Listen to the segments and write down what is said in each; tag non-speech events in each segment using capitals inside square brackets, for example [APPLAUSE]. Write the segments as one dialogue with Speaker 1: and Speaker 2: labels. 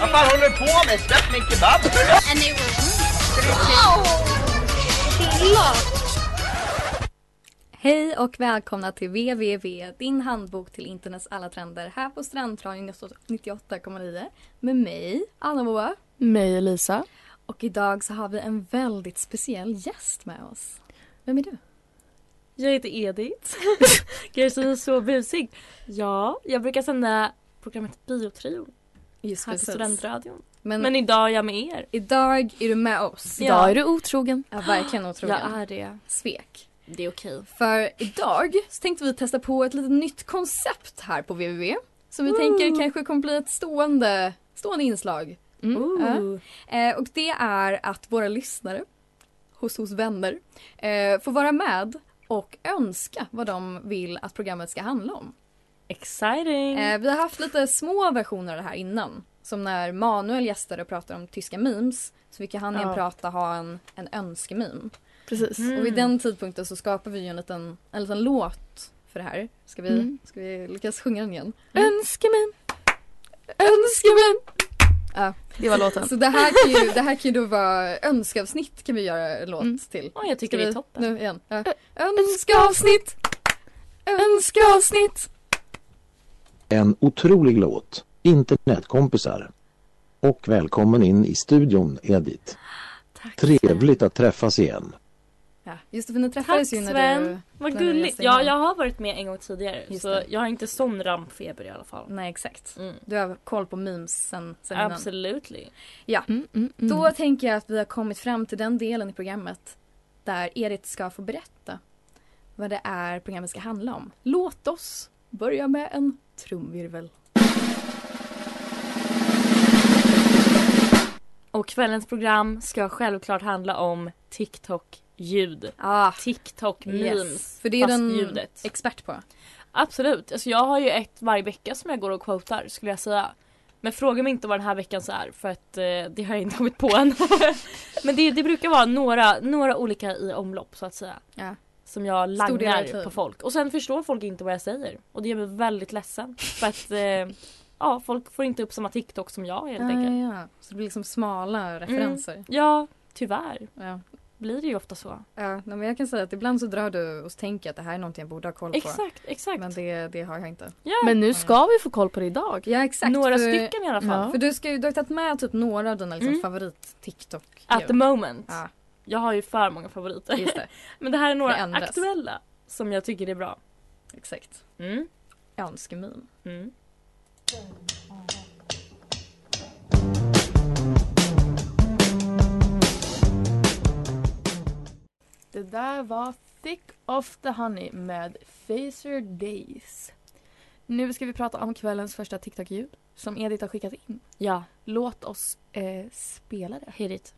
Speaker 1: Vad fan håller du på med? Släpp min kebab!
Speaker 2: and they were Wow!
Speaker 3: Hej och välkomna till www, din handbok till internets alla trender här på Strandradion 98,9 med mig, Anna Moa.
Speaker 4: Mig Elisa.
Speaker 3: Och idag så har vi en väldigt speciell gäst med oss. Vem är du?
Speaker 4: Jag heter
Speaker 3: [LAUGHS]
Speaker 4: Edith. Kanske är så busig. Ja, jag brukar sända programmet Biotrion
Speaker 3: Just
Speaker 4: här på Studentradion.
Speaker 3: Men,
Speaker 4: Men, idag är jag med er.
Speaker 3: idag är du med oss.
Speaker 4: Idag är du otrogen.
Speaker 3: Ja, verkligen otrogen.
Speaker 4: Jag är det.
Speaker 3: Svek.
Speaker 4: Det är okej.
Speaker 3: För idag så tänkte vi testa på ett litet nytt koncept här på www. Som vi tänker kanske kommer bli ett stående, stående inslag
Speaker 5: Mm.
Speaker 4: Ooh.
Speaker 3: Eh, och det är att våra lyssnare hos hos vänner eh, får vara med och önska vad de vill att programmet ska handla om.
Speaker 4: Exciting.
Speaker 3: Eh, vi har haft lite små versioner av det här innan. Som när Manuel gästade och pratade om tyska memes så fick ju han ja.
Speaker 4: Ja.
Speaker 3: prata ha en, en önskememe.
Speaker 4: Precis.
Speaker 3: Och vid den tidpunkten så skapar vi ju en liten, en liten låt för det här. Ska vi,
Speaker 4: Mm.
Speaker 3: ska vi lyckas sjunga den igen?
Speaker 4: Önskemän.
Speaker 3: Önskememe! Ja.
Speaker 4: Det var låten.
Speaker 3: Så det här kan ju, det här kan ju då vara önskavsnitt kan vi göra en låt
Speaker 4: Mm.
Speaker 3: till.
Speaker 4: Åh, jag tycker
Speaker 3: Ska
Speaker 4: det är
Speaker 3: vi-
Speaker 4: toppen.
Speaker 3: Nu igen. Ja. Önskavsnitt! Önskavsnitt!
Speaker 6: En otrolig låt, internetkompisar. Och välkommen in i studion, Edith.
Speaker 4: Tack.
Speaker 6: Trevligt att träffas igen.
Speaker 3: Ja, just det, för ni
Speaker 4: Tack
Speaker 3: träffades ju när
Speaker 4: Sven. Vad
Speaker 3: när du
Speaker 4: gulligt.
Speaker 3: reste
Speaker 4: Ja,
Speaker 3: in.
Speaker 4: jag har varit med en gång tidigare.
Speaker 3: Just
Speaker 4: så
Speaker 3: det.
Speaker 4: jag har inte sån rampfeber i alla
Speaker 3: du...
Speaker 4: fall.
Speaker 3: Nej, exakt.
Speaker 4: Mm.
Speaker 3: Du har koll på memes sen, sen innan.
Speaker 4: Absolutely.
Speaker 3: Mm, Då tänker jag att vi har kommit fram till den delen i programmet där Edith ska få berätta vad det är programmet ska handla om. Låt oss börja med en trumvirvel.
Speaker 4: Och kvällens program ska självklart handla om TikTok-ljud.
Speaker 3: Ah,
Speaker 4: TikTok-memes.
Speaker 3: yes. För det är
Speaker 4: fast
Speaker 3: den
Speaker 4: ljudet.
Speaker 3: expert på.
Speaker 4: Absolut. Alltså jag har ju ett varje vecka som jag går och quotar skulle jag säga. Men fråga mig inte vad den här veckan så är för att eh, det har jag inte kommit på än. [LAUGHS] Men det, det brukar vara några, några olika i omlopp så att säga.
Speaker 3: Ja.
Speaker 4: Som jag
Speaker 3: Stor del av
Speaker 4: langar
Speaker 3: tiden.
Speaker 4: på folk. Och sen förstår folk inte vad jag säger. Och det gör mig väldigt ledsen. För att eh, ja, folk får inte upp samma TikTok som jag helt
Speaker 3: Ah,
Speaker 4: enkelt.
Speaker 3: ja. Så det blir liksom smala referenser.
Speaker 4: Ja, tyvärr
Speaker 3: Ja.
Speaker 4: blir det ju ofta så.
Speaker 3: Ja, nej, men jag kan säga att ibland så drar du och så tänker jag att det här är någonting jag borde ha koll på.
Speaker 4: Exakt, exakt.
Speaker 3: Men det, det har jag inte.
Speaker 4: ja.
Speaker 5: Men nu ska vi få koll på det idag.
Speaker 3: Ja exakt.
Speaker 4: några
Speaker 3: för,
Speaker 4: stycken i alla fall.
Speaker 3: För du, ska ju, du har ju tagit med typ några av dina liksom,
Speaker 4: Mm.
Speaker 3: favorit TikTok.
Speaker 4: At the moment.
Speaker 3: Ja.
Speaker 4: Jag har ju för många favoriter.
Speaker 3: Just det,
Speaker 4: Men det här är några
Speaker 3: Det ändras.
Speaker 4: aktuella som jag tycker är bra.
Speaker 3: exakt.
Speaker 4: Mm.
Speaker 3: Önskememe.
Speaker 4: Mm.
Speaker 5: Det där var Thick of the Honey med Phaser Days. Nu ska vi prata om kvällens första TikTok-ljud som Edith har skickat in.
Speaker 4: Ja,
Speaker 5: Låt oss eh, spela det.
Speaker 4: hit it.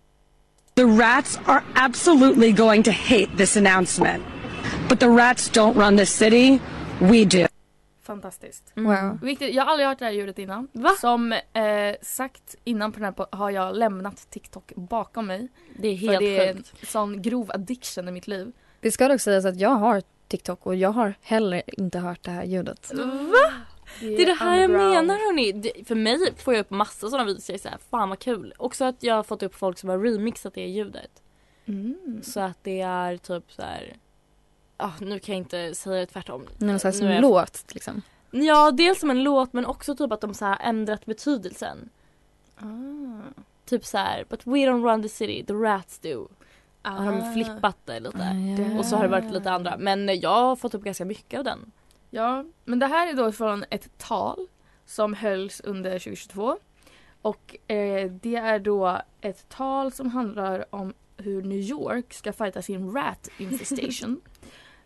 Speaker 7: The rats are absolutely going to hate this announcement. But the rats don't run the city, we do.
Speaker 5: Fantastiskt.
Speaker 3: Wow.
Speaker 5: Viktigt, jag har aldrig hört det här ljudet innan.
Speaker 4: Mm. Va?
Speaker 5: Som eh, sagt innan på den här po- har jag lämnat TikTok bakom mig.
Speaker 4: Det är
Speaker 5: för
Speaker 4: helt
Speaker 5: det är en
Speaker 4: sjukt.
Speaker 5: sån grov addiction i mitt liv.
Speaker 3: Det ska dock sägas att jag har TikTok och jag har heller inte hört det här ljudet.
Speaker 4: Det är det här jag
Speaker 5: underground.
Speaker 4: menar hörni. Det, för mig får jag upp massa sådana videos. Jag är såhär, fan vad kul. Också att jag har fått upp folk som har remixat det ljudet.
Speaker 5: Mm.
Speaker 4: Så att det är typ så här. Ah, nu kan jag inte säga det tvärtom.
Speaker 3: Någon slags
Speaker 4: Nu är jag-
Speaker 3: låt liksom.
Speaker 4: Ja, dels som en låt men också typ att de så här ändrat betydelsen.
Speaker 5: Ah.
Speaker 4: Typ så här, but we don't run the city, the rats do. Har
Speaker 5: Ah.
Speaker 4: de flippat det lite. Och [LAUGHS] så har det varit lite andra. Men jag har fått upp ganska mycket av den.
Speaker 5: Ja, men det här är då från ett tal som hölls under 2022. Och eh, det är då ett tal som handlar om hur New York ska fighta sin rat infestation.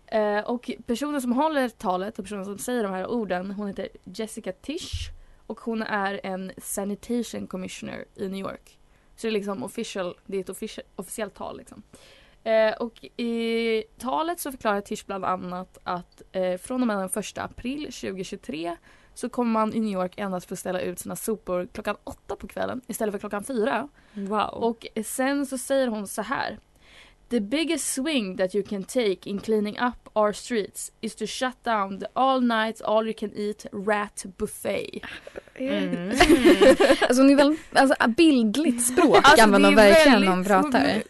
Speaker 5: eh, och personen som håller talet och personen som säger de här orden, hon heter Jessica Tisch Och hon är en sanitation commissioner i New York. Så det är liksom official, det är ett offici- officiellt tal liksom. Eh, och i talet så förklarar Tisch bland annat att eh, från och med den 1 april 2023 så kommer man i New York endast få ställa ut sina sopor klockan åtta på kvällen istället för klockan fyra.
Speaker 4: Wow.
Speaker 5: Och sen så säger hon så här. The biggest swing that you can take in cleaning up our streets is to shut down the all night all you can eat rat buffet.
Speaker 4: Mm.
Speaker 3: Alltså, hon är väl, alltså bildligt språk
Speaker 5: Alltså, det
Speaker 3: använder hon
Speaker 5: är
Speaker 3: verkligen när
Speaker 5: väldigt-
Speaker 3: hon pratar.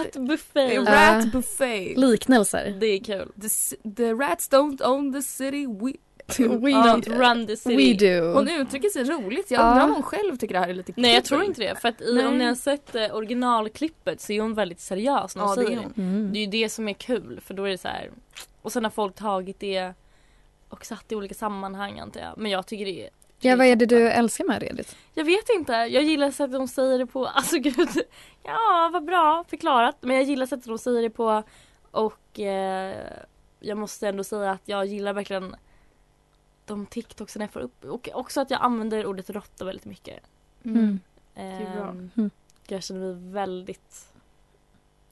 Speaker 4: Rat buffet.
Speaker 3: Ja.
Speaker 5: Rat buffet.
Speaker 3: Liknelser.
Speaker 4: Det är kul.
Speaker 5: The, c- the rats don't own the city we
Speaker 3: We
Speaker 4: Don't
Speaker 3: do.
Speaker 4: run the city.
Speaker 3: We do.
Speaker 5: Hon uttrycker sig roligt. Jag
Speaker 3: Ja.
Speaker 5: undrar om hon själv tycker det här är lite kul.
Speaker 4: Nej jag tror inte det för att i,
Speaker 5: Nej.
Speaker 4: om ni har sett eh, originalklippet så är hon väldigt seriös när hon
Speaker 5: Ja, det
Speaker 4: säger
Speaker 5: är
Speaker 4: det.
Speaker 5: hon.
Speaker 3: Mm.
Speaker 4: Det är ju det som är kul för då är det så här. Och sen har folk tagit det och satt i olika sammanhang antar jag. Men jag tycker det är
Speaker 3: Ja, vad är det du älskar med det Edith?
Speaker 4: Jag vet inte. Jag gillar sättet de säger det på. [LAUGHS] Alltså gud. Ja, vad bra förklarat. Men jag gillar sättet de säger det på. Och eh, jag måste ändå säga att jag gillar verkligen de TikToksen jag får upp. Och också att jag använder ordet råtta väldigt mycket.
Speaker 3: Mm.
Speaker 5: är bra.
Speaker 4: Ehm,
Speaker 3: Mm.
Speaker 4: Jag känner mig väldigt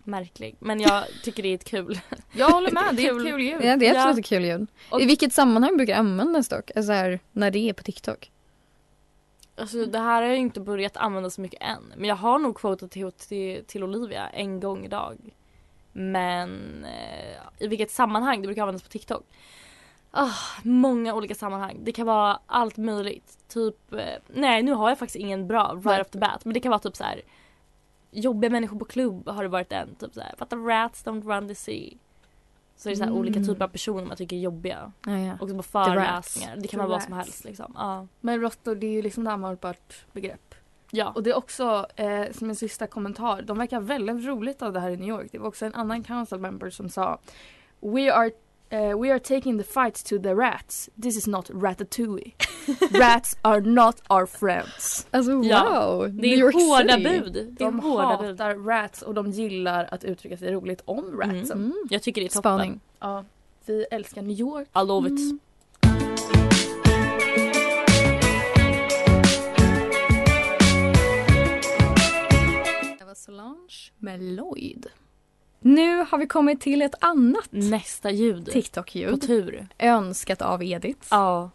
Speaker 4: märklig. Men jag tycker det är ett kul.
Speaker 5: Jag håller med, det är ett
Speaker 4: Kul.
Speaker 5: kul ljud.
Speaker 3: Ja, det är
Speaker 4: Ja.
Speaker 3: absolut ett kul ljud.
Speaker 4: Och-
Speaker 3: I vilket sammanhang brukar det användas dock? Alltså här, när det är på TikTok?
Speaker 4: Alltså det här har jag inte börjat använda så mycket än. Men jag har nog kvotat till, till, till Olivia en gång i dag. Men eh, i vilket sammanhang det brukar användas på TikTok? Ah, många olika sammanhang. Det kan vara allt möjligt. Typ, eh, nej nu har jag faktiskt ingen bra right off the bat. Men det kan vara typ så här. Jobbiga människor på klubb har det varit en. Typ så här, fatta rats don't run the sea. Så är det så här
Speaker 3: Mm.
Speaker 4: olika typer av personer man tycker är jobbiga.
Speaker 3: Ja, ja.
Speaker 4: Och så på
Speaker 3: rats.
Speaker 4: föreläsningar. Det kan
Speaker 5: The
Speaker 4: vara vad som
Speaker 5: rats.
Speaker 4: helst liksom. Ja.
Speaker 5: Men råttor det är ju liksom ett användbart begrepp.
Speaker 4: ja.
Speaker 5: Och det är också eh, som en sista kommentar. De verkar väldigt roligt av det här i New York. Det var också en annan council member som sa We are eh, we are taking the fight to the rats. This is not [LAUGHS] ratatouille. Rats are not our friends.
Speaker 3: Alltså wow!
Speaker 4: Ja, Det
Speaker 3: New
Speaker 4: är
Speaker 3: York
Speaker 4: hårda
Speaker 3: City.
Speaker 4: bud. Det är
Speaker 5: De
Speaker 4: hårda bud.
Speaker 5: hatar rats och de gillar att uttrycka sig roligt om ratsen.
Speaker 3: Mm.
Speaker 4: Jag tycker det är toppen.
Speaker 3: Spaning.
Speaker 5: Ja, vi älskar New York.
Speaker 4: I love it.
Speaker 3: Det var Solange med Lloyd. Nu har vi kommit till ett annat
Speaker 4: Nästa ljud. på
Speaker 3: TikTok-ljud.
Speaker 4: tur.
Speaker 3: Önskat av Edith.
Speaker 4: Ja.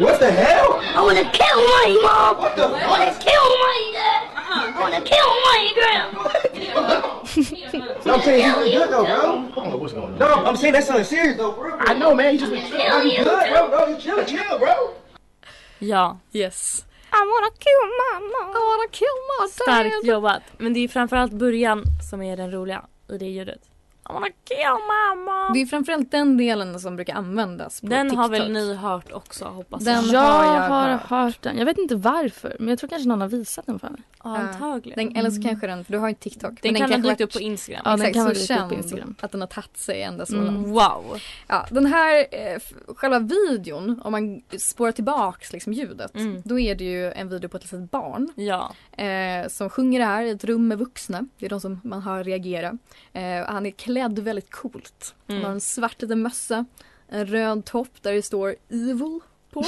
Speaker 1: What the hell?
Speaker 2: I wanna kill my mom. I wanna kill my dad. I wanna kill my grandma.
Speaker 1: No, I'm saying you been good though, bro. I don't know what's going on. No, I'm saying that's something serious though, bro. I know, man. You just been
Speaker 2: Kill you.
Speaker 1: good, bro. Bro, you chill, chill, bro.
Speaker 4: Ja.
Speaker 3: Yes.
Speaker 5: I wanna kill my mom. I wanna kill my
Speaker 4: Starkt jobbat. Men det är framförallt början som är den roliga i det ljudet. I wanna kill mamma.
Speaker 3: Det är framförallt den delen som brukar användas på
Speaker 4: Den
Speaker 3: TikTok.
Speaker 4: har väl ni hört också hoppas
Speaker 3: Den-
Speaker 4: jag.
Speaker 5: Jag
Speaker 3: har jag
Speaker 5: har
Speaker 3: hört.
Speaker 5: hört. den. Jag vet inte varför men jag tror kanske någon har visat den för mig.
Speaker 4: Ja, Antagligen.
Speaker 3: Den, eller så kanske den, för du har inte TikTok.
Speaker 4: Mm. Den
Speaker 3: men
Speaker 4: kan ha
Speaker 3: kanske
Speaker 4: dykt upp
Speaker 3: varit-
Speaker 4: på Instagram.
Speaker 5: Ja, den
Speaker 3: Exakt,
Speaker 5: kan ha
Speaker 3: så
Speaker 5: dykt upp på
Speaker 3: känd
Speaker 5: Instagram.
Speaker 3: att den har tagit sig ända så långt.
Speaker 4: Mm, Wow.
Speaker 3: Ja, den här eh, f- själva videon, om man spårar tillbaks liksom ljudet,
Speaker 4: Mm.
Speaker 3: då är det ju en video på ett litet barn
Speaker 4: Ja.
Speaker 3: eh, som sjunger det här i ett rum med vuxna. Det är de som man hör reagera. Eh, han är klädd väldigt coolt. Han har
Speaker 4: Mm.
Speaker 3: en svart liten mössa, en röd topp där det står Evil
Speaker 4: [LAUGHS]
Speaker 3: på.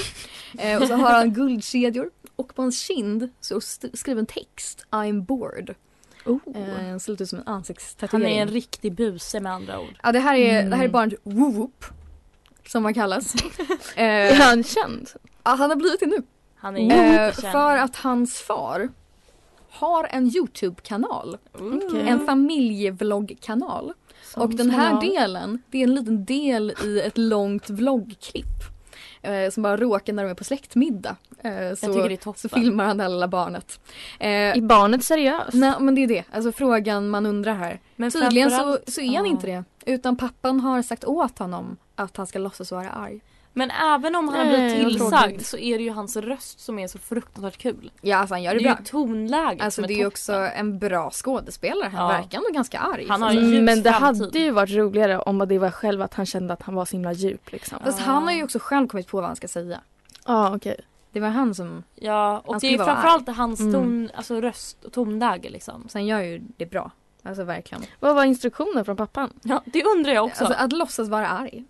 Speaker 3: eh, och så har han guldkedjor. Och på hans kind så st- skriven text I'm bored. Eh, ser ut som en
Speaker 4: Oh. Han
Speaker 3: ansiktstatuering.
Speaker 4: är en riktig buse med andra ord.
Speaker 3: Ja det här är, det här är
Speaker 5: Mm.
Speaker 3: barnet Whoop som han kallas.
Speaker 4: [LAUGHS]
Speaker 3: eh,
Speaker 5: Är han känd?
Speaker 3: ja, han har blivit det nu.
Speaker 4: Han är jättekänd.
Speaker 3: Eh, för att hans far har en Youtube-kanal.
Speaker 4: Okej.
Speaker 3: En familjevloggkanal. Och den här delen, det är en liten del i ett långt vloggklipp. Eh, som bara råkar när de är på släktmiddag. Eh,
Speaker 4: Jag tycker det
Speaker 3: så,
Speaker 4: är toppen.
Speaker 3: så filmar han det här lilla barnet. Eh,
Speaker 5: Är barnet seriöst?
Speaker 3: Nej men det är det, alltså frågan man undrar här.
Speaker 4: Men
Speaker 3: Tydligen så,
Speaker 4: framförallt-
Speaker 3: så är
Speaker 4: Ja.
Speaker 3: han inte det. Utan pappan har sagt åt honom att han ska låtsas vara arg.
Speaker 4: Men även om han
Speaker 5: Nej,
Speaker 4: blir
Speaker 5: vad
Speaker 4: tillsagd
Speaker 5: tråkigt.
Speaker 4: så är det ju hans röst som är så fruktansvärt kul.
Speaker 3: Ja alltså han gör
Speaker 4: Det
Speaker 3: det,
Speaker 4: är
Speaker 3: bra.
Speaker 4: ju tonläget
Speaker 3: Alltså
Speaker 4: som är
Speaker 3: det är ju
Speaker 4: toppen.
Speaker 3: också en bra skådespelare. Han
Speaker 4: Ja.
Speaker 3: verkar ändå ganska arg. Alltså,
Speaker 4: Han har
Speaker 3: Så-
Speaker 4: ju- ljus
Speaker 5: Mm, men det
Speaker 4: framtid.
Speaker 5: hade ju varit roligare om det var själv att han kände att han var så himla djup liksom. Ja,
Speaker 3: Fast han har ju också själv kommit på vad han ska säga.
Speaker 5: okej.
Speaker 3: Det var han som,
Speaker 4: Ja, och
Speaker 3: Han
Speaker 4: det
Speaker 3: ska
Speaker 4: är
Speaker 3: ju
Speaker 4: ju
Speaker 3: vara
Speaker 4: framförallt hans
Speaker 3: Mm.
Speaker 4: ton, alltså röst och tonläge liksom.
Speaker 3: sen gör ju det bra. Alltså verkligen.
Speaker 5: Vad var instruktionen från pappan?
Speaker 4: Ja, det undrar jag också.
Speaker 3: Alltså att låtsas vara arg.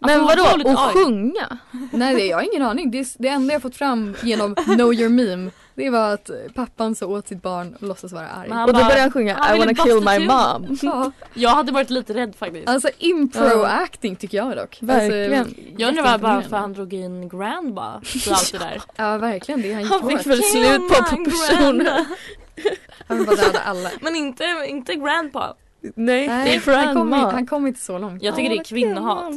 Speaker 3: Men
Speaker 8: Alltså, otroligt
Speaker 3: vadå, och
Speaker 8: arg.
Speaker 3: sjunga? Nej det, jag har ingen aning. Det, är, s- det enda jag fått fram genom Know Your Meme det var att pappan sa åt sitt barn att låtsas vara arg.
Speaker 4: Men han
Speaker 5: Och då
Speaker 4: bara-
Speaker 5: började han sjunga
Speaker 4: han
Speaker 5: I
Speaker 4: ville
Speaker 5: wanna kill
Speaker 4: basta
Speaker 5: my
Speaker 4: tjuren.
Speaker 5: mom.
Speaker 3: Ja,
Speaker 4: Jag hade varit lite rädd faktiskt.
Speaker 3: alltså
Speaker 5: Ja.
Speaker 3: impro-acting tycker jag dock.
Speaker 5: Verkligen.
Speaker 3: Alltså,
Speaker 4: jag undrar bara varför
Speaker 3: jätteimponerande.
Speaker 4: han drog in Grand bara för allt det där.
Speaker 3: Ja verkligen, det han gick
Speaker 4: Han
Speaker 3: han
Speaker 4: fick
Speaker 3: hårt.
Speaker 4: väl
Speaker 5: Kill
Speaker 4: slut på
Speaker 5: my
Speaker 4: proportioner.
Speaker 3: Han bara döda alla.
Speaker 4: [LAUGHS] Men inte, inte Grandpa.
Speaker 5: Nej, det är
Speaker 3: Nej,
Speaker 5: för
Speaker 3: han kom, inte,
Speaker 5: mamma.
Speaker 3: han kom inte så långt.
Speaker 4: Jag tycker det är kvinnohat.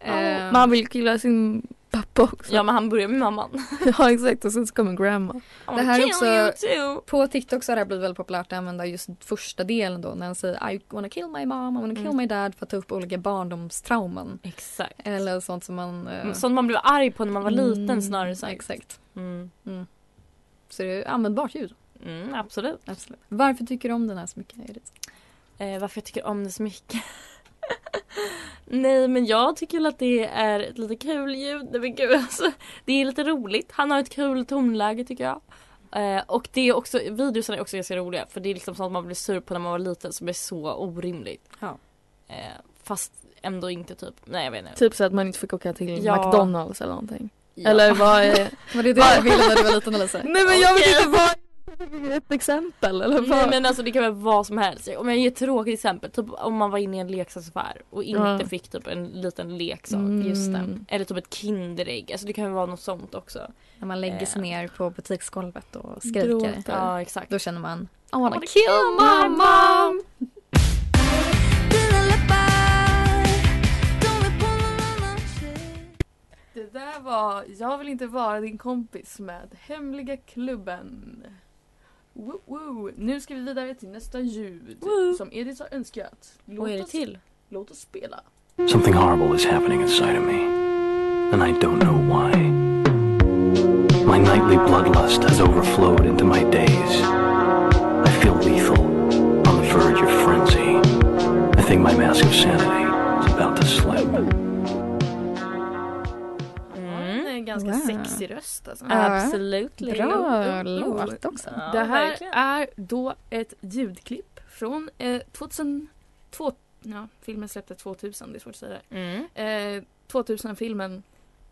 Speaker 3: Ehm,
Speaker 5: Man vill killa sin pappa också.
Speaker 4: Ja men han börjar med mamman.
Speaker 5: Ja exakt och sen så kommer grandma.
Speaker 4: I'm
Speaker 3: Det
Speaker 4: gonna
Speaker 3: här är
Speaker 4: kill
Speaker 3: också-
Speaker 4: you too.
Speaker 3: På TikTok så har det här blivit väldigt populärt att använda just första delen då när han säger I wanna kill my mom, I wanna kill
Speaker 4: Mm.
Speaker 3: my dad för att ta upp olika barndomstrauman.
Speaker 4: Exakt.
Speaker 3: Eller sånt som man... eh,
Speaker 4: Sånt man blev arg på Mm, när man var liten
Speaker 3: mm,
Speaker 4: snarare sagt.
Speaker 3: Exakt.
Speaker 4: Mm.
Speaker 3: Så det är användbart ljud.
Speaker 4: Mm, absolut.
Speaker 3: Absolut. Varför tycker du om den här så mycket? Edith?
Speaker 4: Eh, varför jag tycker om det så mycket? [LAUGHS] Nej men jag tycker väl att det är ett lite kul ljud. Nej, men gud, alltså, det är lite roligt. Han har ett kul tonläge tycker jag. Eh, och det är också, videosarna är också ganska roliga för det är liksom sånt man blir sur på när man var liten som är så orimligt.
Speaker 3: Ja.
Speaker 4: Eh, fast ändå inte typ, nej jag vet inte.
Speaker 5: Typ så att man inte fick åka till
Speaker 4: Ja.
Speaker 5: McDonalds eller någonting.
Speaker 4: Ja.
Speaker 5: Eller vad är...
Speaker 3: Var det det du ville när du var
Speaker 4: [LAUGHS]
Speaker 3: liten Alisa?
Speaker 5: Nej men jag vet inte vad... Ett exempel eller vad?
Speaker 4: Nej men alltså det kan vara vad som helst. Om jag ger ett tråkigt exempel, typ om man var inne i en leksaksaffär och inte
Speaker 5: Ja.
Speaker 4: fick typ en liten leksak.
Speaker 5: Mm.
Speaker 3: Just det.
Speaker 4: Eller typ ett kinderägg, alltså det kan ju vara något sånt också.
Speaker 3: När man lägger sig
Speaker 4: Eh.
Speaker 3: ner på butiksgolvet och skriker.
Speaker 5: Gråter.
Speaker 4: Ja exakt.
Speaker 3: Då känner man I wanna
Speaker 4: Wanna
Speaker 3: kill
Speaker 4: kill my
Speaker 3: my mom!
Speaker 5: Det där var Jag vill inte vara din kompis med Hemliga klubben. Woo, woo. Nu ska vi vidare till nästa ljud
Speaker 4: Woo.
Speaker 5: som Edith har önskat.
Speaker 4: Vad är det till?
Speaker 5: låt oss spela.
Speaker 1: Something horrible is happening inside of me, and I don't know why. My nightly bloodlust has overflowed into my days. I feel lethal, on the verge of frenzy. I think my massive sanity is about to slip.
Speaker 4: Mm.
Speaker 5: En ganska
Speaker 3: Wow.
Speaker 5: sexig röst alltså.
Speaker 4: Absolutely.
Speaker 3: Bra
Speaker 5: Jo, jo, jo.
Speaker 3: låt också.
Speaker 4: Ja,
Speaker 5: Det här
Speaker 4: verkligen.
Speaker 5: är då ett ljudklipp från eh, 2002. Ja, filmen släpptes 2000, det är svårt att säga
Speaker 4: Mm.
Speaker 5: det. Eh, 2000-filmen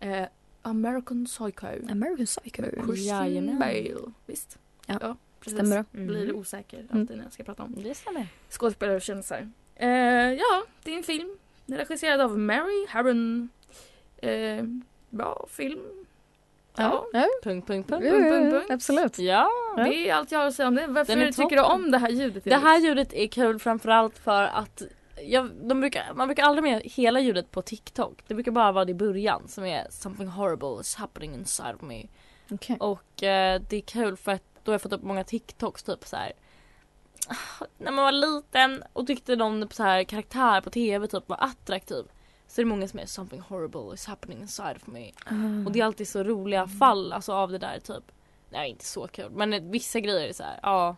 Speaker 5: eh, American Psycho.
Speaker 3: American Psycho.
Speaker 5: Christian
Speaker 4: Jajamän.
Speaker 5: Bale. Visst?
Speaker 3: Ja,
Speaker 5: precis.
Speaker 3: Stämmer bra.
Speaker 4: Mm.
Speaker 5: Blir osäker
Speaker 3: Mm.
Speaker 5: alltid när jag ska prata om
Speaker 4: Det stämmer.
Speaker 5: skådespelare och kändisar. Eh, ja, det är en film. Den är regisserad av Mary Harron. Eh, bra film. Ja.
Speaker 3: Ja.
Speaker 4: Punkt, punkt, punkt.
Speaker 5: Punkt, punkt, punkt.
Speaker 3: Absolut.
Speaker 4: Ja.
Speaker 5: Det är allt jag har att säga om det. Varför
Speaker 4: Den är
Speaker 5: tycker du
Speaker 4: toppen.
Speaker 5: om det här ljudet?
Speaker 4: Det här ljudet är kul framförallt för att jag, de brukar, man brukar aldrig med hela ljudet på TikTok. Det brukar bara vara det i början som är something horrible is happening inside of me.
Speaker 3: Okej.
Speaker 4: Och eh, det är kul för att då har jag fått upp många TikToks typ så här. När man var liten och tyckte någon så här karaktär på TV typ var attraktiv. Så är det många som är something horrible is happening inside of me. Och det är alltid så roliga fall alltså av det där typ. Nej inte så kul men eh, vissa grejer är så här, ja.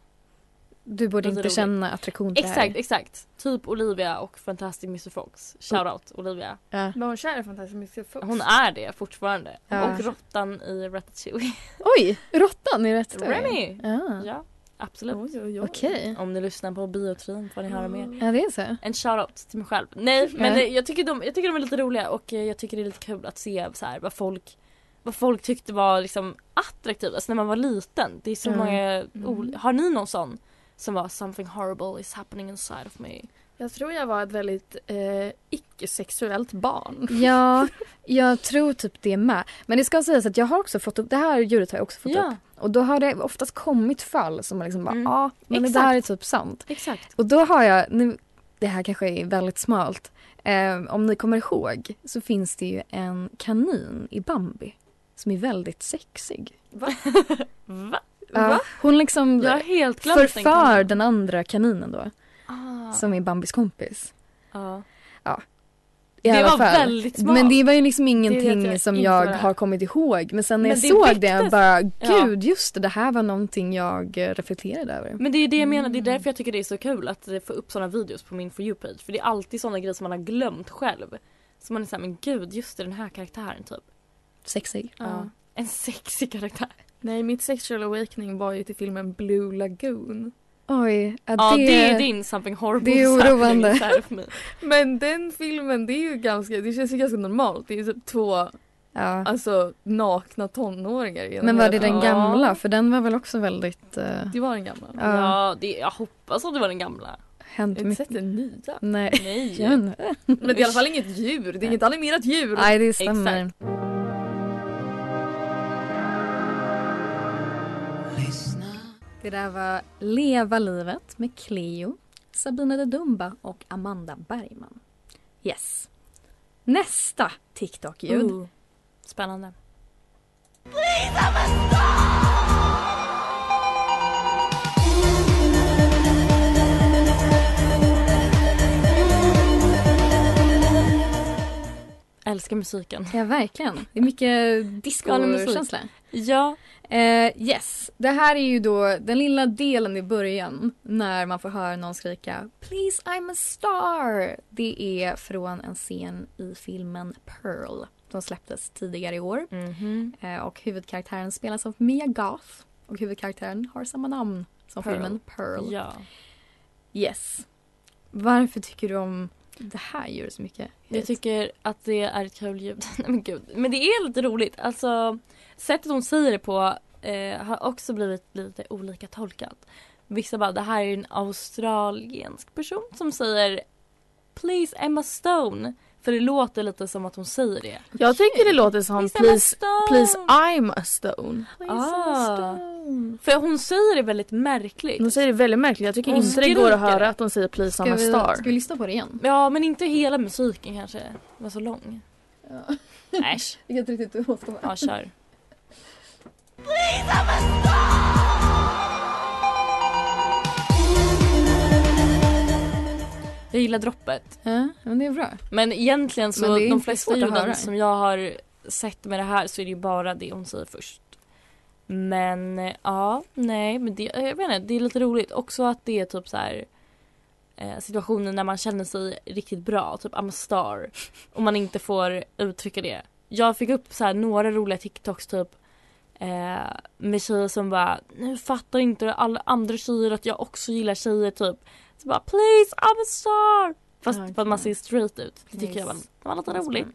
Speaker 3: Du
Speaker 4: Lite
Speaker 3: borde inte
Speaker 4: roligt.
Speaker 3: känna attraktion till
Speaker 4: Exakt,
Speaker 3: det
Speaker 4: exakt. Typ Olivia och Fantastic Mr Fox.
Speaker 3: Mm.
Speaker 4: Shoutout Olivia.
Speaker 3: här. Ja.
Speaker 5: Var hon kär i Fantastic Mr. Fox?
Speaker 4: Hon är det fortfarande.
Speaker 3: Ja.
Speaker 4: Och råttan i Ratatouille.
Speaker 3: Oj, råttan i rätt
Speaker 4: Remy!
Speaker 3: Ja.
Speaker 4: Ja, absolut.
Speaker 5: Oj, oj, oj.
Speaker 3: Okej.
Speaker 4: Om ni lyssnar på biotrin får ni höra mer.
Speaker 3: Ja, det är så.
Speaker 4: En shoutout till mig själv. Nej men
Speaker 3: Ja.
Speaker 4: eh, jag, tycker de, jag tycker de är lite roliga och eh, jag tycker det är lite kul att se så här, vad folk vad folk tyckte var liksom attraktivt, alltså när man var liten. Det är så
Speaker 3: Mm.
Speaker 4: många, ol- har ni någon sån som var something horrible is happening inside of me?
Speaker 5: Jag tror jag var ett väldigt eh, icke-sexuellt barn.
Speaker 3: Ja, jag tror typ det med. Men det ska sägas att jag har också fått upp, det här djuret har jag också fått upp.
Speaker 4: Typ.
Speaker 3: Och då har det oftast kommit fall som man liksom bara, ja,
Speaker 4: Mm.
Speaker 3: men det
Speaker 4: Exakt.
Speaker 3: här är typ sant.
Speaker 4: [LAUGHS] exakt.
Speaker 3: Och då har jag, nu, det här kanske är väldigt smalt. Eh, om ni kommer ihåg så finns det ju en kanin i Bambi som är väldigt sexig.
Speaker 4: Va?
Speaker 3: Ja, hon liksom
Speaker 4: Jag har helt glömt den
Speaker 3: förför
Speaker 4: kanalen.
Speaker 3: den andra kaninen då,
Speaker 4: Ah.
Speaker 3: som är Bambis kompis.
Speaker 4: Ja. Det
Speaker 3: I alla
Speaker 4: var
Speaker 3: fall.
Speaker 4: väldigt smart.
Speaker 3: Men det var ju liksom
Speaker 5: Det
Speaker 3: ingenting
Speaker 5: vet jag
Speaker 3: som
Speaker 5: inte
Speaker 3: jag
Speaker 5: vad det är.
Speaker 3: har kommit ihåg. Men sen när
Speaker 4: Men
Speaker 3: jag
Speaker 4: det
Speaker 3: såg det,
Speaker 4: väcktes.
Speaker 3: jag bara
Speaker 4: Ja.
Speaker 3: gud just det, det här var någonting jag eh, reflekterade över.
Speaker 4: Men det är ju det jag menar, det är därför jag tycker det är så kul att eh, få upp sådana videos på min For You-page. För det är alltid sådana grejer som man har glömt själv. Så man är såhär, men gud, just det, den här karaktären typ.
Speaker 3: Sexig.
Speaker 4: Ja. En sexig karaktär.
Speaker 5: Nej, mitt sexual awakening var ju till filmen Blue Lagoon.
Speaker 9: Oj, ja,
Speaker 4: Ja, det är din something horrible
Speaker 9: Det är
Speaker 4: is happening
Speaker 9: oroande.
Speaker 4: så här för mig.
Speaker 5: Men den filmen det är ju ganska, det känns ju ganska normalt. Det är ju typ två
Speaker 9: Ja.
Speaker 5: [LAUGHS] alltså, nakna tonåringar. genom
Speaker 9: Men var
Speaker 5: hela
Speaker 9: det den
Speaker 5: filmen.
Speaker 9: gamla?
Speaker 5: Ja,
Speaker 9: För den var väl också väldigt... eh,
Speaker 5: det var den gamla.
Speaker 9: Ja.
Speaker 4: Ja, det, jag hoppas att det var den gamla.
Speaker 9: hänt
Speaker 5: Har du
Speaker 9: mycket.
Speaker 5: sett den typ [LAUGHS] nya?
Speaker 3: [LAUGHS]
Speaker 9: Nej. [LAUGHS]
Speaker 4: Nej.
Speaker 9: Jag vet inte.
Speaker 5: Men det är i alla fall inget djur, det är inget animerat djur.
Speaker 9: Nej, det stämmer.
Speaker 3: Det där var Leva livet med Cleo, Sabina de Dumba och Amanda Bergman. Yes. Nästa TikTok-ljud.
Speaker 4: Ooh. Spännande. Älskar musiken.
Speaker 3: Ja, verkligen. Det är [LAUGHS] mycket
Speaker 4: Galen musik.
Speaker 3: disco-känsla.
Speaker 4: Ja.
Speaker 3: Eh, yes, det här är ju då den lilla delen i början när man får höra någon skrika “Please I'm a star”. Det är från en scen i filmen Pearl som släpptes tidigare i år.
Speaker 4: Mhm.
Speaker 3: Eh, och huvudkaraktären spelas av Mia Goth och huvudkaraktären har samma namn som
Speaker 4: Pearl.
Speaker 3: filmen Pearl.
Speaker 4: Ja.
Speaker 3: Yes. Varför tycker du om det här djuret så mycket?
Speaker 4: Jag tycker att det är ett kul ljud. [LAUGHS] Nej men gud. Men det är lite roligt. Alltså sättet hon säger det på eh, har också blivit lite olika tolkat. Vissa bara det här är en australiensk person som säger Please Emma Stone. För det låter lite som att hon säger det.
Speaker 5: Jag tycker det låter som
Speaker 4: Please, I'm a
Speaker 5: please,
Speaker 4: stone."
Speaker 5: please I'm a stone.
Speaker 4: Ah. För hon säger det väldigt märkligt.
Speaker 5: De säger det väldigt märkligt. Jag tycker
Speaker 4: Hon
Speaker 5: inte det går att
Speaker 4: skriker.
Speaker 5: höra att de säger please I'm
Speaker 3: Ska
Speaker 5: a
Speaker 3: vi,
Speaker 5: star.
Speaker 3: ska vi lyssna på det igen?
Speaker 4: Ja men inte hela musiken kanske. Det var så lång.
Speaker 5: [LAUGHS]
Speaker 4: Äsch.
Speaker 3: Jag vet inte riktigt hur ska
Speaker 4: Ja kör. Jag gillar droppet.
Speaker 3: Ja, men det är bra.
Speaker 4: Men egentligen så
Speaker 3: Men det är
Speaker 4: de
Speaker 3: inte
Speaker 4: flesta
Speaker 3: svårt att höra.
Speaker 4: ljuden som jag har sett med det här så är det ju bara det hon säger först. Men eh, ja, nej men det, eh, jag vet inte, det är lite roligt också att det är typ så här eh, situationer när man känner sig riktigt bra, typ I'm a star och man inte får uttrycka det. Jag fick upp så här några roliga TikToks typ eh, med tjejer som bara nu fattar inte alla andra tjejer att jag också gillar tjejer typ. Så bara please I'm a star! Fast
Speaker 3: Ja,
Speaker 4: för att man ser
Speaker 3: okej.
Speaker 4: straight ut. Det tycker jag var,
Speaker 3: Nice.
Speaker 4: det var lite
Speaker 3: Vad
Speaker 4: roligt.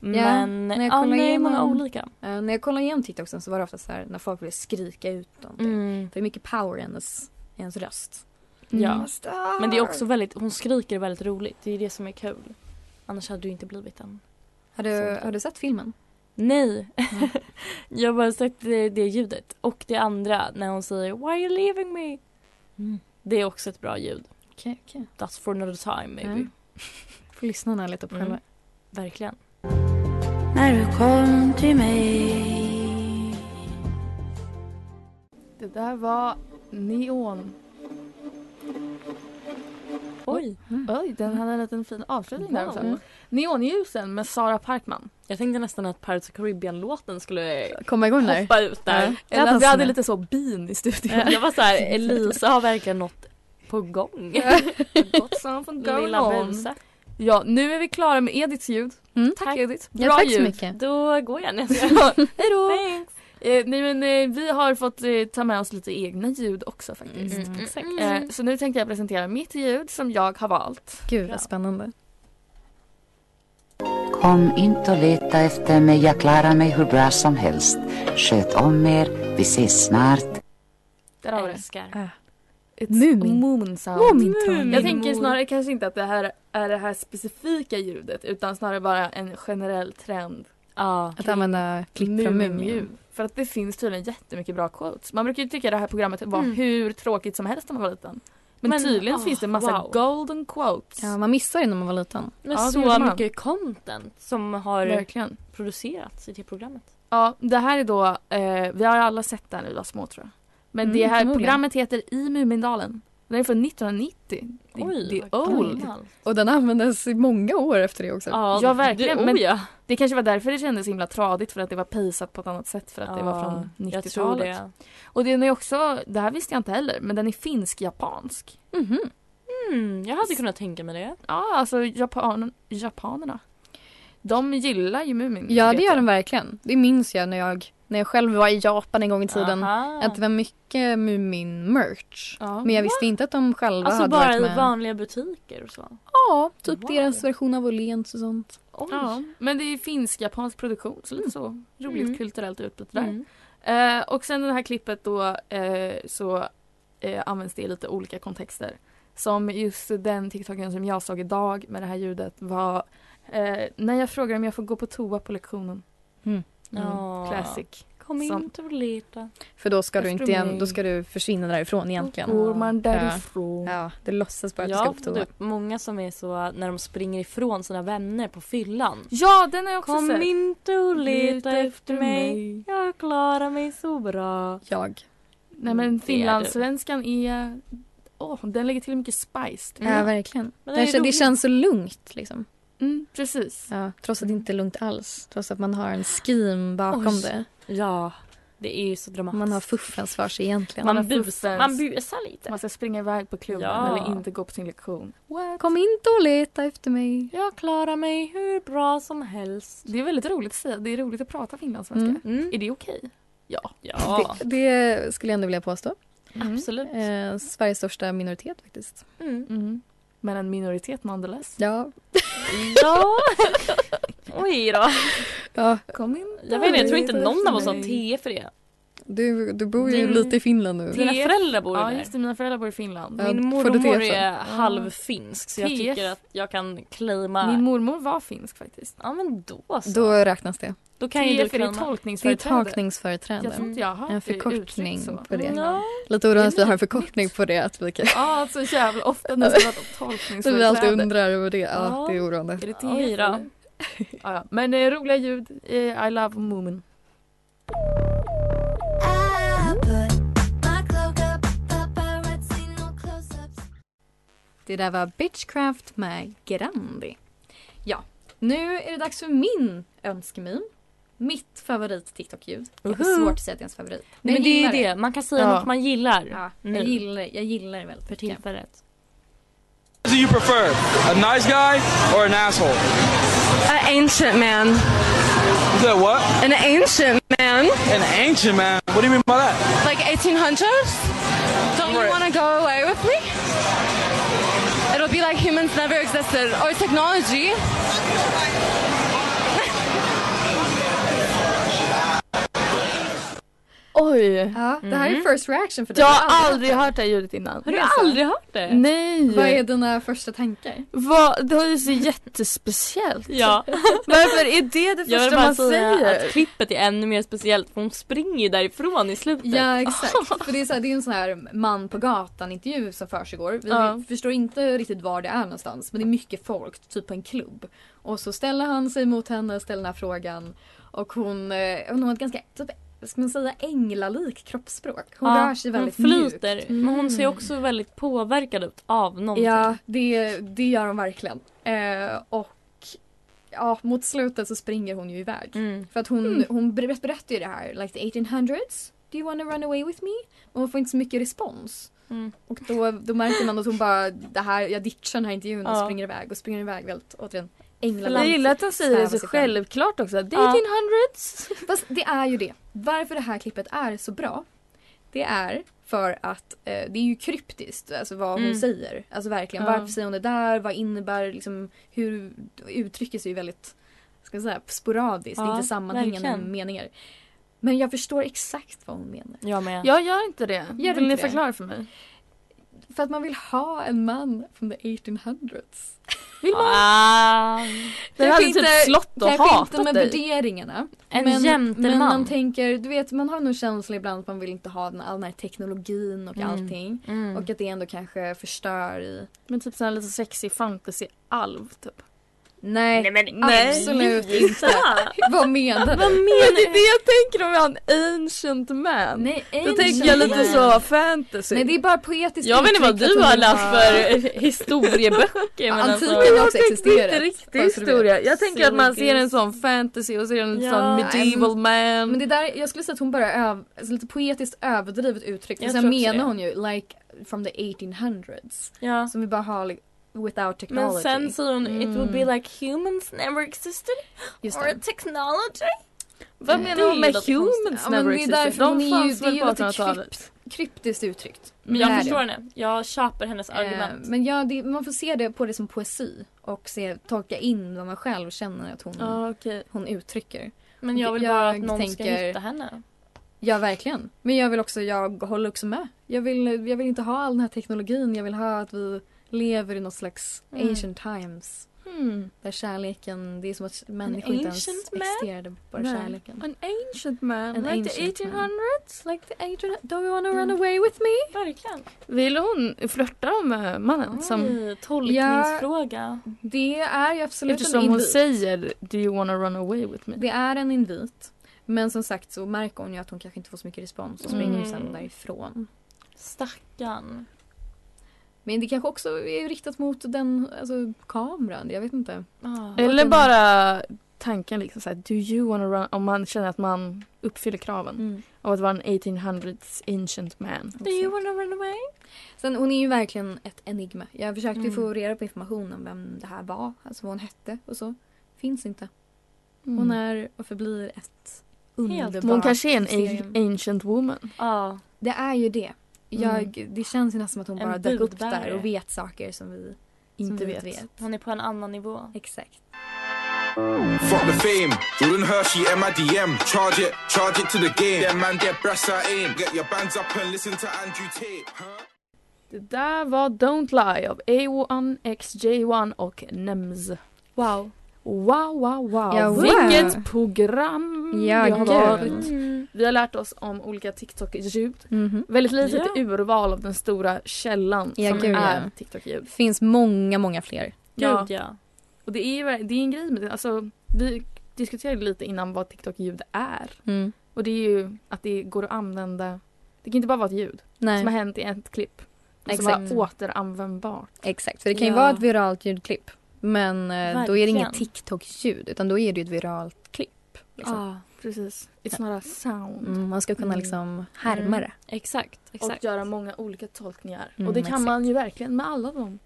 Speaker 3: Ja,
Speaker 4: Men
Speaker 3: när jag
Speaker 4: ja,
Speaker 3: kollar
Speaker 4: nej,
Speaker 3: igenom-
Speaker 4: många olika.
Speaker 3: Eh, när jag kollade igenom TikToksen så var det ofta så här när folk ville skrika ut någonting.
Speaker 4: Mm,
Speaker 3: För det är mycket power i hennes, i hennes röst. Mm.
Speaker 4: ja. Men det är också väldigt, hon skriker väldigt roligt. Det är det som är kul. Annars hade du inte blivit en
Speaker 3: Har du, har du sett filmen?
Speaker 4: Nej. [LAUGHS] jag har bara sett det, det ljudet. Och det andra när hon säger Why are you leaving me?
Speaker 3: Mm.
Speaker 4: Det är också ett bra ljud.
Speaker 3: Okej, okej.
Speaker 4: That's for another time maybe.
Speaker 3: Ja. Får lyssnarna leta på
Speaker 4: Mm.
Speaker 3: själva.
Speaker 4: Verkligen.
Speaker 7: När du kom till mig
Speaker 5: Det där var neon.
Speaker 4: Oj.
Speaker 5: Oj, den hade en liten fin avslutning där också.
Speaker 4: Mm.
Speaker 5: Neonljusen med Sara Parkman.
Speaker 4: Jag tänkte nästan att Pirates of Caribbean-låten skulle
Speaker 3: Komma igång där.
Speaker 4: hoppa ut där.
Speaker 5: Eller att vi
Speaker 3: passar
Speaker 5: hade
Speaker 3: mig.
Speaker 5: lite så bin i studion. [LAUGHS]
Speaker 4: [LAUGHS] Jag var så här, Elisa har verkligen något på gång. [LAUGHS]
Speaker 5: Got something going
Speaker 4: Lilla
Speaker 5: on.
Speaker 4: Buse.
Speaker 5: Ja, nu är vi klara med Ediths ljud.
Speaker 3: Mm.
Speaker 5: Tack,
Speaker 4: Tack.
Speaker 5: Edith. Bra
Speaker 3: Ja, tack
Speaker 5: ljud.
Speaker 3: så mycket.
Speaker 4: Då går jag nästa.
Speaker 5: [LAUGHS] Hej då.
Speaker 4: Thanks.
Speaker 5: Eh, nej, men, eh, vi har fått eh, ta med oss lite egna ljud också faktiskt.
Speaker 4: Mm, mm,
Speaker 5: Exakt.
Speaker 4: mm.
Speaker 5: Eh, så nu tänkte jag presentera mitt ljud som jag har valt.
Speaker 3: Gud
Speaker 4: Bra.
Speaker 3: vad spännande.
Speaker 10: Kom inte och leta efter mig, jag klarar mig hur bra som helst. Sköt om er, vi ses snart.
Speaker 5: Där har vi det.
Speaker 4: Älskar.
Speaker 5: Eh, It's
Speaker 3: Mumin.
Speaker 5: a moon sound.
Speaker 3: Mumintroll.
Speaker 5: Jag tänker snarare kanske inte att det här är det här specifika ljudet utan snarare bara en generell trend.
Speaker 4: Ja.
Speaker 3: Att använda klipp från Mumin.
Speaker 5: Muminljud. För att det finns tydligen jättemycket bra quotes. Man brukar ju tycka det här programmet var
Speaker 4: Mm.
Speaker 5: hur tråkigt som helst när man var liten. Men,
Speaker 4: Men,
Speaker 5: tydligen
Speaker 4: ah,
Speaker 5: finns det massa
Speaker 4: wow.
Speaker 5: golden quotes.
Speaker 3: Ja, man missar det när man var liten.
Speaker 4: Men
Speaker 5: Ja, det
Speaker 4: så
Speaker 5: gjorde man.
Speaker 4: mycket content som har
Speaker 5: Verkligen.
Speaker 4: producerats i det programmet.
Speaker 5: Ja, det här är då, eh, vi har alla sett det här när vi var små tror jag. Men
Speaker 3: Mm,
Speaker 5: det här
Speaker 3: förmodligen.
Speaker 5: programmet heter I Mumindalen. Den är från 1990. Det,
Speaker 4: Oj,
Speaker 5: det är
Speaker 4: vad
Speaker 5: old.
Speaker 4: gammalt.
Speaker 3: Och den användes i många år efter det också.
Speaker 4: Ja,
Speaker 5: Ja, verkligen,
Speaker 4: Det, oh,
Speaker 5: men-
Speaker 4: ja.
Speaker 5: Det kanske var därför det kändes så himla tradigt för att det var pejsat på ett annat sätt för att det var från
Speaker 4: Ja, Jag tror
Speaker 5: 90-talet.
Speaker 4: det.
Speaker 5: Och den är också, det här visste jag inte heller, men den är finsk-japansk.
Speaker 3: Mhm.
Speaker 4: Mm, jag hade kunnat tänka mig det.
Speaker 5: Ja, alltså japan, japanerna. De gillar ju Mumin.
Speaker 3: Ja,
Speaker 5: vet
Speaker 3: det gör
Speaker 5: jag.
Speaker 3: den verkligen. Det minns jag när jag när jag själv var i Japan en gång i tiden.
Speaker 4: Aha.
Speaker 3: Att det var mycket Mumin-merch. Men jag visste inte att de själva
Speaker 4: Alltså
Speaker 3: hade
Speaker 4: bara
Speaker 3: varit
Speaker 4: i
Speaker 3: med.
Speaker 4: vanliga butiker och så.
Speaker 3: Ja, typ deras version av Åhléns och sånt.
Speaker 5: Ja, men det är finsk-japansk produktion så lite så roligt
Speaker 3: Mm.
Speaker 5: kulturellt utbyte där.
Speaker 3: Mm.
Speaker 5: Eh, och sen det här klippet då eh, så eh, används det i lite olika kontexter. Som just den TikToken som jag såg idag med det här ljudet var eh, när jag frågar om jag får gå på toa på lektionen.
Speaker 3: Mm.
Speaker 4: Ja.
Speaker 5: Classic.
Speaker 4: Kom in
Speaker 5: Som-
Speaker 4: och leta.
Speaker 3: För då ska du inte
Speaker 5: Eftersom
Speaker 3: igen, då ska du försvinna därifrån egentligen.
Speaker 5: Går man
Speaker 3: Ja, ja det låtsas bara att
Speaker 4: Jag
Speaker 3: du ska
Speaker 4: har
Speaker 3: på
Speaker 4: fått
Speaker 3: toa.
Speaker 4: upp många som är så när de springer ifrån sina vänner på fyllan.
Speaker 5: Ja, den har jag också
Speaker 4: Kom
Speaker 5: sett.
Speaker 4: inte och leta
Speaker 5: Leta
Speaker 4: efter
Speaker 5: efter
Speaker 4: mig.
Speaker 5: mig.
Speaker 4: Jag klarar mig så bra.
Speaker 3: Jag.
Speaker 5: Nej men
Speaker 4: Det är
Speaker 5: finlandssvenskan är... Åh, den lägger till mycket spice. tycker
Speaker 3: Ja,
Speaker 5: jag.
Speaker 3: verkligen. Alltså,
Speaker 5: Men
Speaker 3: Det,
Speaker 5: Mm. är
Speaker 3: kän- det
Speaker 5: roligt.
Speaker 3: känns så lugnt liksom.
Speaker 5: Mm, precis.
Speaker 3: Ja, trots att det inte är lugnt alls. Trots att man har en scheme bakom
Speaker 4: Oj.
Speaker 3: det.
Speaker 4: Ja, det är ju så dramatiskt.
Speaker 3: Man har fuffens för sig egentligen.
Speaker 4: Man busar, man busar lite.
Speaker 5: Man ska springa iväg på klubben
Speaker 4: Ja.
Speaker 5: eller inte gå på sin lektion.
Speaker 3: Kom inte och leta efter mig.
Speaker 4: Jag klarar mig hur bra som helst.
Speaker 5: Det är väldigt roligt att säga. Det är roligt att prata
Speaker 3: Mm.
Speaker 5: finlandssvenska. Är det okej? Mm. Ja.
Speaker 4: Mm. Ja, Mm.
Speaker 3: Det, det skulle jag ändå vilja påstå.
Speaker 5: Mm.
Speaker 4: absolut.
Speaker 3: Eh, Sveriges största minoritet faktiskt.
Speaker 4: Mm.
Speaker 5: Mm. Men en minoritet nonetheless.
Speaker 3: Ja.
Speaker 4: Ja. [LAUGHS] Oj då.
Speaker 3: ja.
Speaker 5: Kom in.
Speaker 4: Jag vet inte, jag tror inte någon av oss har TE för det.
Speaker 3: Du, du bor ju
Speaker 4: Din-
Speaker 3: lite i Finland nu.
Speaker 4: Dina föräldrar bor ju
Speaker 5: Ja,
Speaker 4: där.
Speaker 5: just det. Mina föräldrar bor i Finland.
Speaker 3: Mm. Ja,
Speaker 4: Min
Speaker 3: får du
Speaker 4: mormor
Speaker 3: TF?
Speaker 4: är
Speaker 3: Ja.
Speaker 4: halvfinsk så jag
Speaker 5: TF.
Speaker 4: tycker att jag kan claima...
Speaker 5: Min mormor var finsk faktiskt.
Speaker 4: Ja men då så.
Speaker 3: Då räknas det.
Speaker 4: Då kan ju du
Speaker 5: TF är det
Speaker 4: claima.
Speaker 3: Det är
Speaker 5: tolkningsföreträde.
Speaker 3: tolkningsföreträde.
Speaker 5: Jag tror inte jag har haft
Speaker 3: en
Speaker 5: det
Speaker 3: förkortning
Speaker 5: uttryckt så.
Speaker 3: på
Speaker 4: Mm,
Speaker 3: det.
Speaker 5: Ja.
Speaker 3: Lite oroande att vi har en förkortning på det. Att
Speaker 5: [LAUGHS]
Speaker 3: vi, kan,
Speaker 5: Ja, så alltså, jävla ofta när det ska vara tolkningsföreträde.
Speaker 3: vi alltid undrar över det. Ja, det är oroande.
Speaker 5: Är det TF?
Speaker 4: Oj då.
Speaker 5: eller? [LAUGHS] ja, ja. Men eh, roliga ljud. Eh, I love Moomin.
Speaker 3: Det där var Bitchcraft med Grandi. Ja, nu är det dags för min önskemin. Mitt favorit TikTok-ljud. Det är
Speaker 4: Uhu.
Speaker 3: svårt att säga att det är ens favorit.
Speaker 4: Nej, men det är ju
Speaker 3: jag
Speaker 4: det.
Speaker 3: gillar
Speaker 4: Man kan säga
Speaker 3: Ja.
Speaker 4: något man gillar.
Speaker 3: Ja,
Speaker 4: nu.
Speaker 3: jag, gillar, jag gillar det väldigt mycket.
Speaker 4: tillfället.
Speaker 1: do you prefer, a nice guy or an asshole?
Speaker 7: An ancient man.
Speaker 1: You said what?
Speaker 7: An ancient man.
Speaker 1: An ancient man. What do you mean by that?
Speaker 7: Like 1800s? Don't you want to go away with me? It'll be like humans never existed or technology.
Speaker 5: Oj!
Speaker 3: Ja, det här är first reaction för dig.
Speaker 5: Mm. Jag har aldrig hört det här ljudet innan.
Speaker 4: Har du aldrig hört det?
Speaker 5: Nej!
Speaker 3: Vad är dina första tankar?
Speaker 5: Vad, det var
Speaker 3: [LAUGHS]
Speaker 5: ju så jättespeciellt.
Speaker 4: Ja.
Speaker 5: Varför är det det
Speaker 4: Jag vill
Speaker 5: första
Speaker 4: bara
Speaker 5: man
Speaker 4: säga
Speaker 5: säger?
Speaker 4: att klippet är ännu mer speciellt för hon springer ju därifrån i slutet. [LAUGHS]
Speaker 3: Ja exakt, för det är, så här, det är en sån här man på gatan intervju som försiggår. Vi
Speaker 4: Ja.
Speaker 3: förstår inte riktigt var det är någonstans men det är mycket folk, typ på en klubb. Och så ställer han sig mot henne, ställer den här frågan och hon, eh, hon har ett ganska, typ, ska man säga änglalik kroppsspråk. Hon
Speaker 4: Ja,
Speaker 3: rör sig väldigt
Speaker 4: Hon flyter. Mm.
Speaker 3: mjukt.
Speaker 4: Men hon ser
Speaker 5: Mm.
Speaker 4: också väldigt påverkad ut av någonting.
Speaker 3: Ja, det, det gör hon verkligen. Eh, och ja, mot slutet så springer hon ju iväg.
Speaker 4: Mm.
Speaker 3: För att hon, hon ber- berättar ju det här, like the 1800s, do you wanna run away with me? Och hon får inte så mycket respons. Och då, då märker man att hon bara, det här, jag ditchar den här intervjun och
Speaker 5: Ja.
Speaker 3: springer iväg och springer iväg väldigt, återigen,
Speaker 5: Jag gillar att de säger det så självklart också. Det är din
Speaker 3: Fast det är ju det. Varför det här klippet är så bra det är för att eh, det är ju kryptiskt alltså vad
Speaker 4: Mm.
Speaker 3: hon säger. Alltså verkligen
Speaker 4: Ja.
Speaker 3: varför säger hon det där? Vad innebär liksom hur uttrycket sig ju väldigt ska jag säga, sporadiskt. det
Speaker 5: Ja,
Speaker 3: är inte sammanhängande
Speaker 5: verkligen.
Speaker 3: meningar. Men jag förstår exakt vad hon menar.
Speaker 4: Jag med.
Speaker 5: Jag gör inte det.
Speaker 3: Gör du
Speaker 5: Vill ni
Speaker 3: inte det?
Speaker 5: förklara för mig?
Speaker 3: För att man vill ha en man från the 1800s.
Speaker 5: Vill man?
Speaker 4: Ah.
Speaker 5: Den hade typ slått och
Speaker 3: kanske inte
Speaker 5: hatat
Speaker 3: med
Speaker 5: dig.
Speaker 3: värderingarna.
Speaker 4: En
Speaker 3: men,
Speaker 4: jämterman.
Speaker 3: men man tänker, du vet man har nog känsla ibland att man vill inte ha den, all den här teknologin och
Speaker 5: Mm.
Speaker 3: allting.
Speaker 5: Mm.
Speaker 3: Och att det ändå kanske förstör i...
Speaker 5: Men typ sån här lite sexig fantasy-alv typ.
Speaker 3: Nej,
Speaker 5: nej.
Speaker 3: absolut inte. Vad menar du?
Speaker 5: Vad menar det är det jag tänker om jag har en ancient man.
Speaker 3: Nej,
Speaker 5: Då
Speaker 3: ancient
Speaker 5: tänker jag lite
Speaker 3: man.
Speaker 5: så fantasy.
Speaker 3: Nej det är bara poetiskt
Speaker 4: Jag vet inte vad
Speaker 3: uttryck
Speaker 4: du
Speaker 3: att
Speaker 4: har
Speaker 3: hon
Speaker 4: läst för
Speaker 3: bara-
Speaker 4: historieböcker. men alltså-
Speaker 3: Antiken
Speaker 5: Men
Speaker 3: har
Speaker 5: jag
Speaker 3: också
Speaker 5: tänkte
Speaker 3: existerat.
Speaker 5: inte riktig
Speaker 3: bara så du vet.
Speaker 5: historia. Jag tänker att man ser en sån fantasy och ser en
Speaker 3: Ja.
Speaker 5: sån medieval
Speaker 3: Mm.
Speaker 5: man.
Speaker 3: Men det där, jag skulle säga att hon bara öv, alltså lite poetiskt överdrivet uttryck.
Speaker 5: Jag
Speaker 3: Och sen
Speaker 5: tror också
Speaker 3: menar
Speaker 5: det.
Speaker 3: hon ju like from the 1800s.
Speaker 4: Ja.
Speaker 3: Som vi bara har like, without
Speaker 4: Men
Speaker 3: technology.
Speaker 5: Mm.
Speaker 4: sen säger hon it will be like humans never existed
Speaker 3: Just
Speaker 4: or
Speaker 3: det.
Speaker 4: technology.
Speaker 5: Vad menar hon med humans
Speaker 3: Ja, men
Speaker 5: never
Speaker 3: det är
Speaker 5: existed?
Speaker 3: därför
Speaker 5: De
Speaker 3: hon är ju,
Speaker 5: fanns
Speaker 3: det är
Speaker 5: väl
Speaker 3: ju
Speaker 5: på
Speaker 3: lite
Speaker 5: 1800-talet?
Speaker 3: krypt, kryptiskt uttryckt.
Speaker 4: Men jag
Speaker 3: Det är
Speaker 4: förstår
Speaker 3: det.
Speaker 4: henne. Jag köper hennes argument.
Speaker 3: Eh, men ja, det, man får se det på det som poesi och se, tolka in vad man själv känner att hon,
Speaker 4: Ja,
Speaker 3: hon uttrycker.
Speaker 4: Men jag vill bara att någon ska hitta henne.
Speaker 3: Ja, verkligen. Men jag vill också, jag håller också med. Jag vill, jag vill inte ha all den här teknologin. Jag vill ha att vi lever i något slags
Speaker 11: Mm.
Speaker 3: ancient times.
Speaker 5: Hmm.
Speaker 3: Där kärleken, det är som att människor inte ens
Speaker 5: ancient man?
Speaker 3: existerade, bara
Speaker 5: Nej.
Speaker 3: kärleken.
Speaker 5: An ancient man,
Speaker 3: An
Speaker 5: like
Speaker 3: ancient
Speaker 5: the
Speaker 3: man.
Speaker 5: 1800s.
Speaker 3: Like the 1800s. Do you wanna run away with me?
Speaker 4: Mm, Verkligen.
Speaker 5: Vill hon flörta om eh, mannen? som,
Speaker 4: Oj, tolkningsfråga.
Speaker 3: Det är ju absolut
Speaker 5: eftersom
Speaker 3: en
Speaker 5: hon
Speaker 3: invit.
Speaker 5: säger Do you wanna run away with me?
Speaker 3: Det är en invit. Men som sagt så märker hon ju att hon kanske inte får så mycket respons och springer
Speaker 4: Mm.
Speaker 3: sen därifrån.
Speaker 4: Stackarn.
Speaker 3: Men det kanske också är riktat mot den alltså, kameran, jag vet inte.
Speaker 4: Ah.
Speaker 5: Eller
Speaker 3: Att den-
Speaker 5: bara tanken liksom såhär Do you wanna run om man känner att man uppfyller kraven
Speaker 3: Mm.
Speaker 5: av att vara en 1800s ancient man.
Speaker 3: Do you wanna
Speaker 4: run away?
Speaker 3: Sen, hon är ju verkligen ett enigma. Jag försökte ju
Speaker 5: Mm.
Speaker 3: få reda på information om vem det här var, alltså vad hon hette och så. Finns inte. Hon
Speaker 5: Mm.
Speaker 3: är och förblir ett underbart
Speaker 5: Hon kanske är en
Speaker 3: mysterium.
Speaker 5: a- ancient woman.
Speaker 4: Ja.
Speaker 3: Det är ju det. Jag,
Speaker 5: Mm.
Speaker 3: Det känns ju nästan som att hon
Speaker 4: En
Speaker 3: bara dök upp
Speaker 4: budbärare.
Speaker 3: där och vet saker som vi som
Speaker 4: Inte
Speaker 3: vi
Speaker 4: vet. Hon är på en annan nivå.
Speaker 3: Exakt.
Speaker 1: Fuck the fame. Jordan Hershey and my DM. Charge it, charge it to the game. Then man get brass out aim. Get your bands up and listen to Andrew Tate.
Speaker 5: Det där var Don't Lie av A1, XJ1 och NEMS.
Speaker 4: Wow.
Speaker 5: Wow, wow, wow.
Speaker 3: Ja, wow.
Speaker 5: Vilket program
Speaker 3: Ja,
Speaker 5: det har
Speaker 3: gud.
Speaker 5: varit.
Speaker 3: Mm.
Speaker 5: Vi har lärt oss om olika TikTok-ljud.
Speaker 3: Mhm.
Speaker 5: Väldigt litet urval av den stora källan
Speaker 3: Ja,
Speaker 5: som
Speaker 3: gud, ja.
Speaker 5: är TikTok-ljud.
Speaker 3: Finns många, många fler.
Speaker 5: Och det är, ju ver- det är en grej med det. Alltså, vi diskuterade lite innan vad TikTok-ljud är.
Speaker 3: Mm.
Speaker 5: Och det är ju att det går att använda. Det kan inte bara vara ett ljud
Speaker 3: Nej.
Speaker 5: som har hänt i ett klipp. Exakt. Som
Speaker 3: Exakt.
Speaker 5: är återanvändbart.
Speaker 3: Exakt, för det kan ju
Speaker 5: Ja.
Speaker 3: vara ett viralt ljudklipp. Men eh, då är det
Speaker 5: Verkligen.
Speaker 3: inget TikTok-ljud utan då är det ju ett viralt klipp. Liksom.
Speaker 5: Ja, precis. It's not a sound.
Speaker 3: Mm, man ska kunna
Speaker 5: Mm.
Speaker 3: liksom härma
Speaker 5: Mm.
Speaker 3: det.
Speaker 4: Exakt,
Speaker 5: Och göra många olika tolkningar.
Speaker 3: Mm,
Speaker 5: och det kan
Speaker 3: exakt.
Speaker 5: man ju verkligen med alla dem.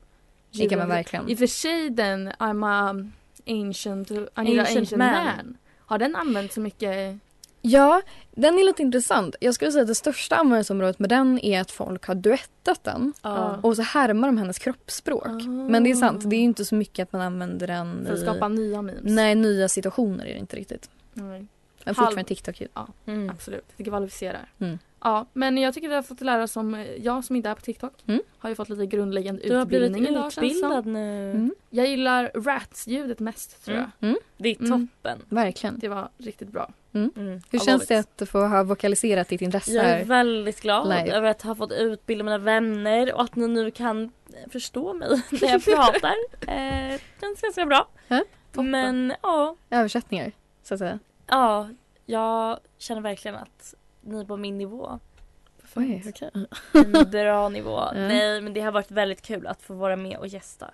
Speaker 3: Det kan man
Speaker 5: Djuren.
Speaker 3: verkligen.
Speaker 5: I och för sig den I'm a ancient, I need a
Speaker 3: Ancient
Speaker 5: ancient man.
Speaker 3: man.
Speaker 5: Har den använt så mycket?
Speaker 3: Ja, den är lite intressant. Jag skulle säga att det största användningsområdet med den är att folk har duettat den
Speaker 5: Ja.
Speaker 3: och så härmar de hennes kroppsspråk. Men det är sant, det är ju inte så mycket Ah. att man använder den
Speaker 5: För att
Speaker 3: i...
Speaker 5: skapa nya memes.
Speaker 3: Nej, nya situationer är det inte riktigt.
Speaker 5: Nej. Halv-
Speaker 3: Men fortfarande TikTok-ljud.
Speaker 5: Ja,
Speaker 4: Mm.
Speaker 5: absolut. Det kvalificerar.
Speaker 3: Mm.
Speaker 5: Ja, men jag tycker vi har fått lära oss om, eh, jag som inte är på TikTok, har ju fått lite grundläggande
Speaker 4: Mm. Du har blivit
Speaker 5: utbildning idag känns det som.
Speaker 4: utbildad nu.
Speaker 5: Mm. Jag gillar rats-ljudet mest tror
Speaker 4: Mm.
Speaker 5: jag.
Speaker 4: Det är
Speaker 5: Mm.
Speaker 4: toppen.
Speaker 3: Verkligen.
Speaker 5: Det var riktigt bra.
Speaker 3: Mm.
Speaker 4: Mm. I
Speaker 3: Hur känns
Speaker 4: love
Speaker 3: det att få ha vokaliserat ditt intresse
Speaker 4: Jag är
Speaker 3: här?
Speaker 4: väldigt glad
Speaker 3: live.
Speaker 4: över att ha fått utbilda mina vänner och att ni nu kan förstå mig [LAUGHS] när jag pratar. Eh, känns ganska bra. Men ja,
Speaker 3: Översättningar, så att säga.
Speaker 4: ja, jag känner verkligen att ni är på min nivå.
Speaker 3: Oj, okej.
Speaker 4: [LAUGHS]
Speaker 3: [LAUGHS]
Speaker 4: En bra nivå.
Speaker 3: Mm.
Speaker 4: Nej men det har varit väldigt kul att få vara med och gästa.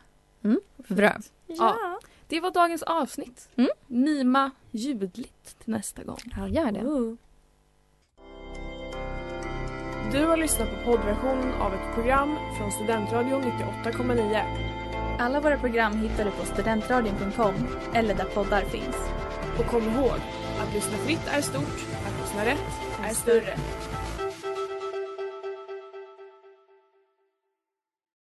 Speaker 3: Mm. Bra.
Speaker 5: Ja. Det var dagens avsnitt.
Speaker 4: Mm.
Speaker 5: Mima ljudligt till nästa gång.
Speaker 3: Ja, gör det.
Speaker 12: Du har lyssnat på poddversionen av ett program från Studentradion 98,9.
Speaker 13: Alla våra program hittar du på studentradion.com eller där poddar finns.
Speaker 12: Och kom ihåg, att lyssna fritt är stort, att lyssna rätt är större.